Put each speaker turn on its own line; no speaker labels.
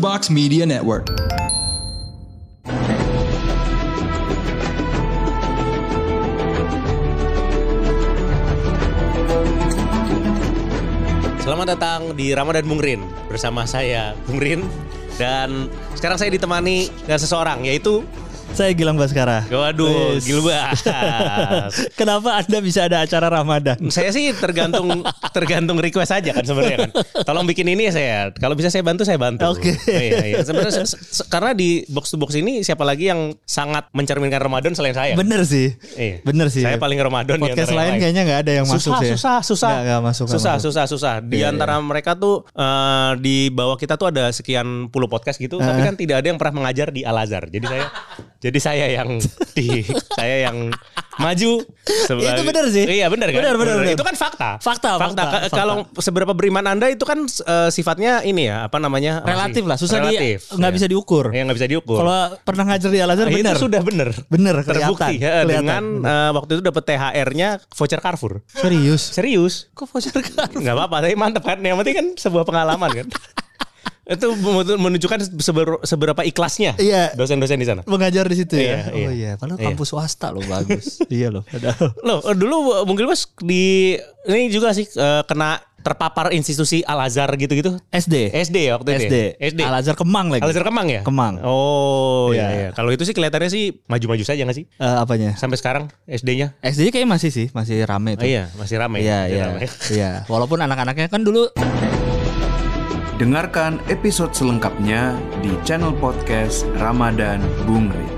Box Media Network.
Selamat datang di Ramadan Mungrin bersama saya Mungrin dan sekarang saya ditemani dengan seseorang yaitu
Saya Gilang Baskara.
waduh
Wes.
Gilbas.
Kenapa Anda bisa ada acara Ramadan?
saya sih tergantung tergantung request aja kan sebenarnya kan. Tolong bikin ini ya saya. Kalau bisa saya bantu saya bantu.
Oke.
Iya, iya. Sebenarnya se- se- karena di box to box ini siapa lagi yang sangat mencerminkan Ramadan selain saya?
Bener sih.
Iya.
Bener sih.
Saya paling Ramadan di antara
Podcast
yang
lain
lain.
kayaknya nggak ada yang masuk
susah,
sih.
susah, susah,
Nggak, nggak masuk. nggak
susah,
masuk.
susah, susah. Di
Iya,
antara mereka tuh eh, di bawah kita tuh ada sekian puluh podcast gitu, tapi kan tidak ada yang pernah mengajar di Al Azhar. Jadi saya, jadi saya yang di, saya yang maju. sebagai-
Itu benar sih.
Iya benar kan.
Benar, benar, benar.
Itu kan fakta.
Fakta, fakta,
Ka-
fakta.
Kalau seberapa beriman anda itu kan eh, sifatnya ini ya apa namanya?
Relatif lah. Susah di
Relatif.
nggak
Iya.
bisa diukur.
Iya, nggak bisa diukur. Ah,
Kalau pernah ngajar di Al Azhar
Itu
bener.
sudah benar.
Bener, kelihatan.
Terbukti ya,
Kelihatan.
dengan eh, waktu itu dapat THR-nya voucher Carrefour.
Serius.
Serius? Kok voucher Carrefour? Gak apa-apa, tapi mantep kan. Yang penting kan sebuah pengalaman kan. itu menunjukkan seber- seberapa ikhlasnya
Iya.
dosen-dosen di sana.
Mengajar di situ
Iya,
ya.
iya.
Oh iya. Padahal
Iya.
kampus swasta loh bagus. iya loh. Padahal.
Loh, eh, dulu mungkin mas di ini juga sih eh, kena terpapar institusi Al Azhar gitu-gitu.
SD.
SD ya waktu itu.
SD.
ya? SD.
Al Azhar Kemang lagi.
Al Azhar Kemang ya?
Kemang.
Oh iya.
Iya.
iya. Kalau itu sih kelihatannya sih maju-maju saja nggak sih?
Eh, apanya?
Sampai sekarang SD-nya?
SD kayaknya masih sih, masih rame
Oh,
tuh.
iya, masih ramai.
Iya, iya, iya. Walaupun anak-anaknya kan dulu
Dengarkan episode selengkapnya di channel podcast Ramadan Bungri.